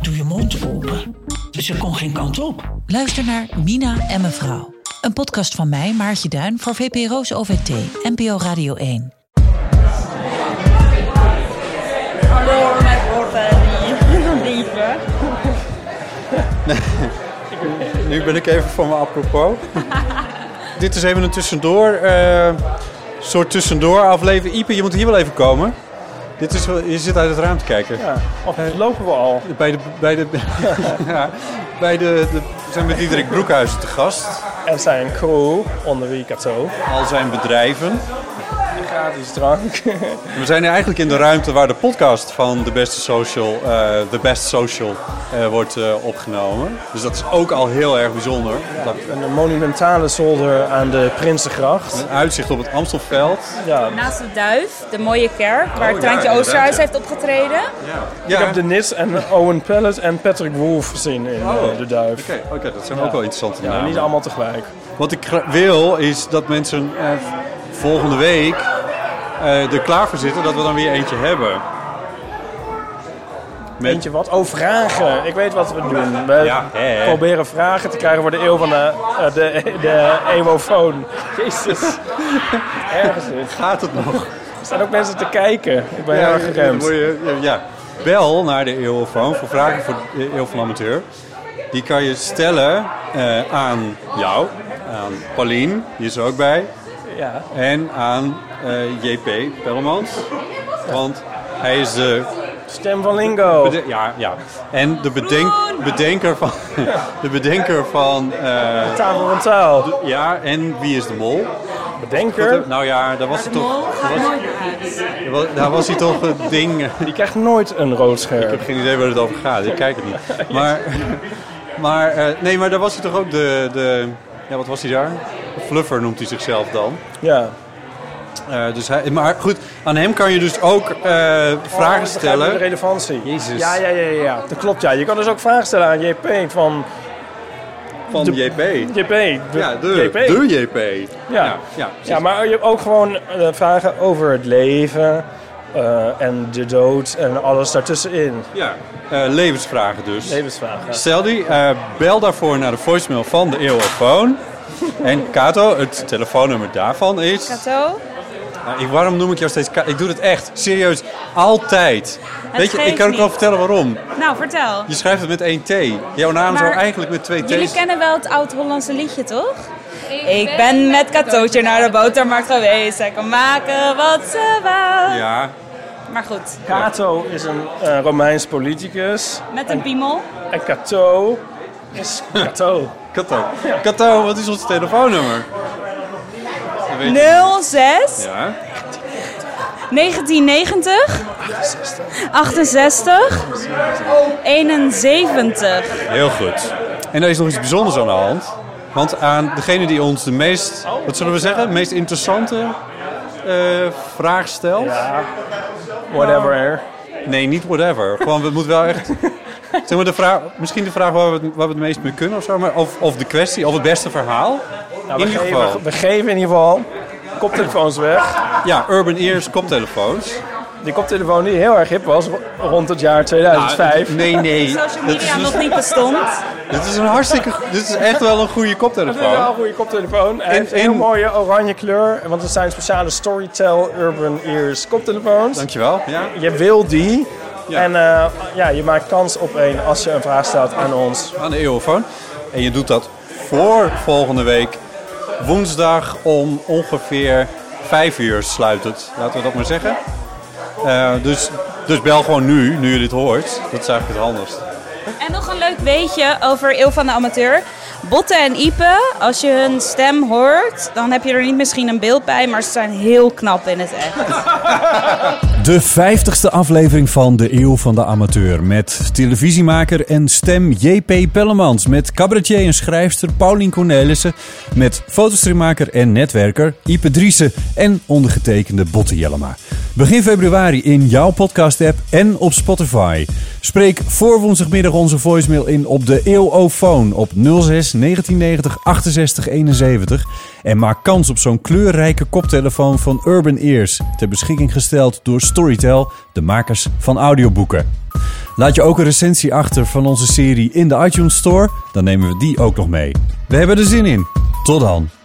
doe je mond open. Ze kon geen kant op. Luister naar Mina en mevrouw. Een podcast van mij, Maartje Duin, voor VPRO's OVT, NPO Radio 1. Hallo met Orfani van Diepen. Nu ben ik even van mijn apropos. Dit is even een tussendoor, eh, soort tussendoor aflevering. Ipe, je moet hier wel even komen. Dit is, wel- je zit uit het raam te kijken. Of lopen we al? Bij de, bij de, ja, bij de, de zijn we Diederik Broekhuizen te gast. Er zijn crew onder wie ik het zo. Al zijn bedrijven. Gratis drank. We zijn eigenlijk in de ruimte waar de podcast van The Best Social, eh, The Best Social eh, wordt eh, opgenomen. Dus dat is ook al heel erg bijzonder. Dat- Een monumentale zolder aan de Prinsengracht. Een uitzicht op het Amstelveld. Ja. Naast de Duif, de mooie kerk waar Oh, ja, Treintje inderdaad, Oosterhuis ja. heeft opgetreden. Ja. Ik heb de Nis en Owen Pellet en Patrick Wolf gezien in eh, Oh. De Duif. Oké, oké, dat zijn ook wel interessante Ja, namen. niet allemaal tegelijk. Wat ik gra- wil is dat mensen eh, volgende week eh, er klaar voor zitten dat we dan weer eentje hebben. Met- Eentje wat? Oh, vragen. Ik weet wat we doen. We Ja, hè. proberen vragen te krijgen voor de eeuw van de, eh, de, de eeuwofoon. Jezus. Ergens is. Gaat het nog? Er staan ook mensen te kijken. Ik ben heel erg dan word geremd. je- ja. Bel naar de Eeuwfoon voor vragen voor de Eeuw van de Amateur. Die kan je stellen eh, aan jou, aan Paulien, die is er ook bij, Ja. en aan eh, JP Pellemans. Want hij is de Stem van Lingo. Bede- ja, ja. En de bedenk, bedenker van. De bedenker van. eh, Tafel van taal. ja, en wie is de mol? Bedenker. Nou ja, daar was hij toch. daar was- daar was- Daar was hij toch het ding. Ik Die krijgt nooit een rood scherm. heb geen idee waar het over gaat, ik kijk het niet. Maar. maar eh, nee, maar daar was hij toch ook de. de ja, wat was hij daar? Fluffer noemt hij zichzelf dan. Ja. Eh, dus hij, maar goed, aan hem kan je dus ook eh, Oh, ik vragen begrijp De stellen. relevantie. Jezus. Ja, ja, ja, ja, ja. Dat klopt, ja. Je kan dus ook vragen stellen aan JP van... Van de- JP. JP. de- Ja, de JP. De JP. Ja. ja, Ja, maar je hebt ook gewoon eh, vragen over het leven... eh, en de dood en alles daartussenin. Ja, eh, levensvragen dus. Levensvragen. Stel die, eh, bel daarvoor naar de voicemail van de Eeuwofoon. En Kato, het telefoonnummer daarvan is... Kato, Nou, ik, waarom noem ik jou steeds Kato? Ik doe het echt, serieus, altijd. Weet je, ik geeft kan ook wel niet. vertellen waarom. nou vertel. Je schrijft het met één T. Jouw naam zou Maar eigenlijk met twee T's... Jullie kennen wel het oud-Hollandse liedje, toch? Ik ben met Katootje naar de botermarkt geweest. Zij kan maken wat ze wou. Ja, Maar goed, Cato is een eh, Romeins politicus. met een piemel. En Cato is Cato. Kato. Kato, wat is ons telefoonnummer? Dat weet ik 06 niet. Ja. 1990 68 71. Heel goed. En er is nog iets bijzonders aan de hand. Want aan degene die ons de meest, wat zullen we zeggen, meest interessante eh, vraag stelt. Whatever. Nee, niet whatever. Gewoon, we moeten wel echt. Zeg maar de vraag, misschien de vraag waar we, het- waar we het meest mee kunnen of zo. Maar of, of de kwestie, of het beste verhaal. Nou, in we, ieder geven, geval. we geven in ieder geval koptelefoons weg. Ja, Urban Ears koptelefoons. Die koptelefoon die heel erg hip was ro- rond het jaar 2005. Ah, nee, nee. Social Dit is, dus- media nog een- niet bestond. dit is een hartstikke. Dit is echt wel een goede Dat is wel een koptelefoon. goede koptelefoon. Hij In- heeft een heel in- mooie oranje kleur. Want het zijn speciale Storytel Urban Ears koptelefoons. Dankjewel. Ja. Je wil die. Ja. En eh, ja, je maakt kans op één als je een vraag stelt aan ons. aan de Eeuwofoon. En je doet dat voor volgende week. Woensdag om ongeveer 5 uur sluit het. Laten we dat maar zeggen. Eh, dus, dus bel gewoon nu, nu je dit hoort. Dat is eigenlijk het handigst. En nog een leuk weetje over Eeuw van de Amateur. Botten en Ipe, als je hun stem hoort, dan heb je er niet misschien een beeld bij, maar ze zijn heel knap in het echt. De vijftigste aflevering van De Eeuw van de Amateur. Met televisiemaker en stem JP Pellemans. Met cabaretier en schrijfster Paulien Cornelissen. Met fotostreammaker en netwerker Ipe Driessen. En ondergetekende Botte Jellema. Begin februari in jouw podcast-app en op Spotify. Spreek voor woensdagmiddag onze voicemail in op de EOO-phone op 06 1990 68 71. En maak kans op zo'n kleurrijke koptelefoon van Urban Ears. Ter beschikking gesteld door Storytel, de makers van audioboeken. Laat je ook een recensie achter van onze serie in de iTunes Store. Dan nemen we die ook nog mee. We hebben er zin in. Tot dan.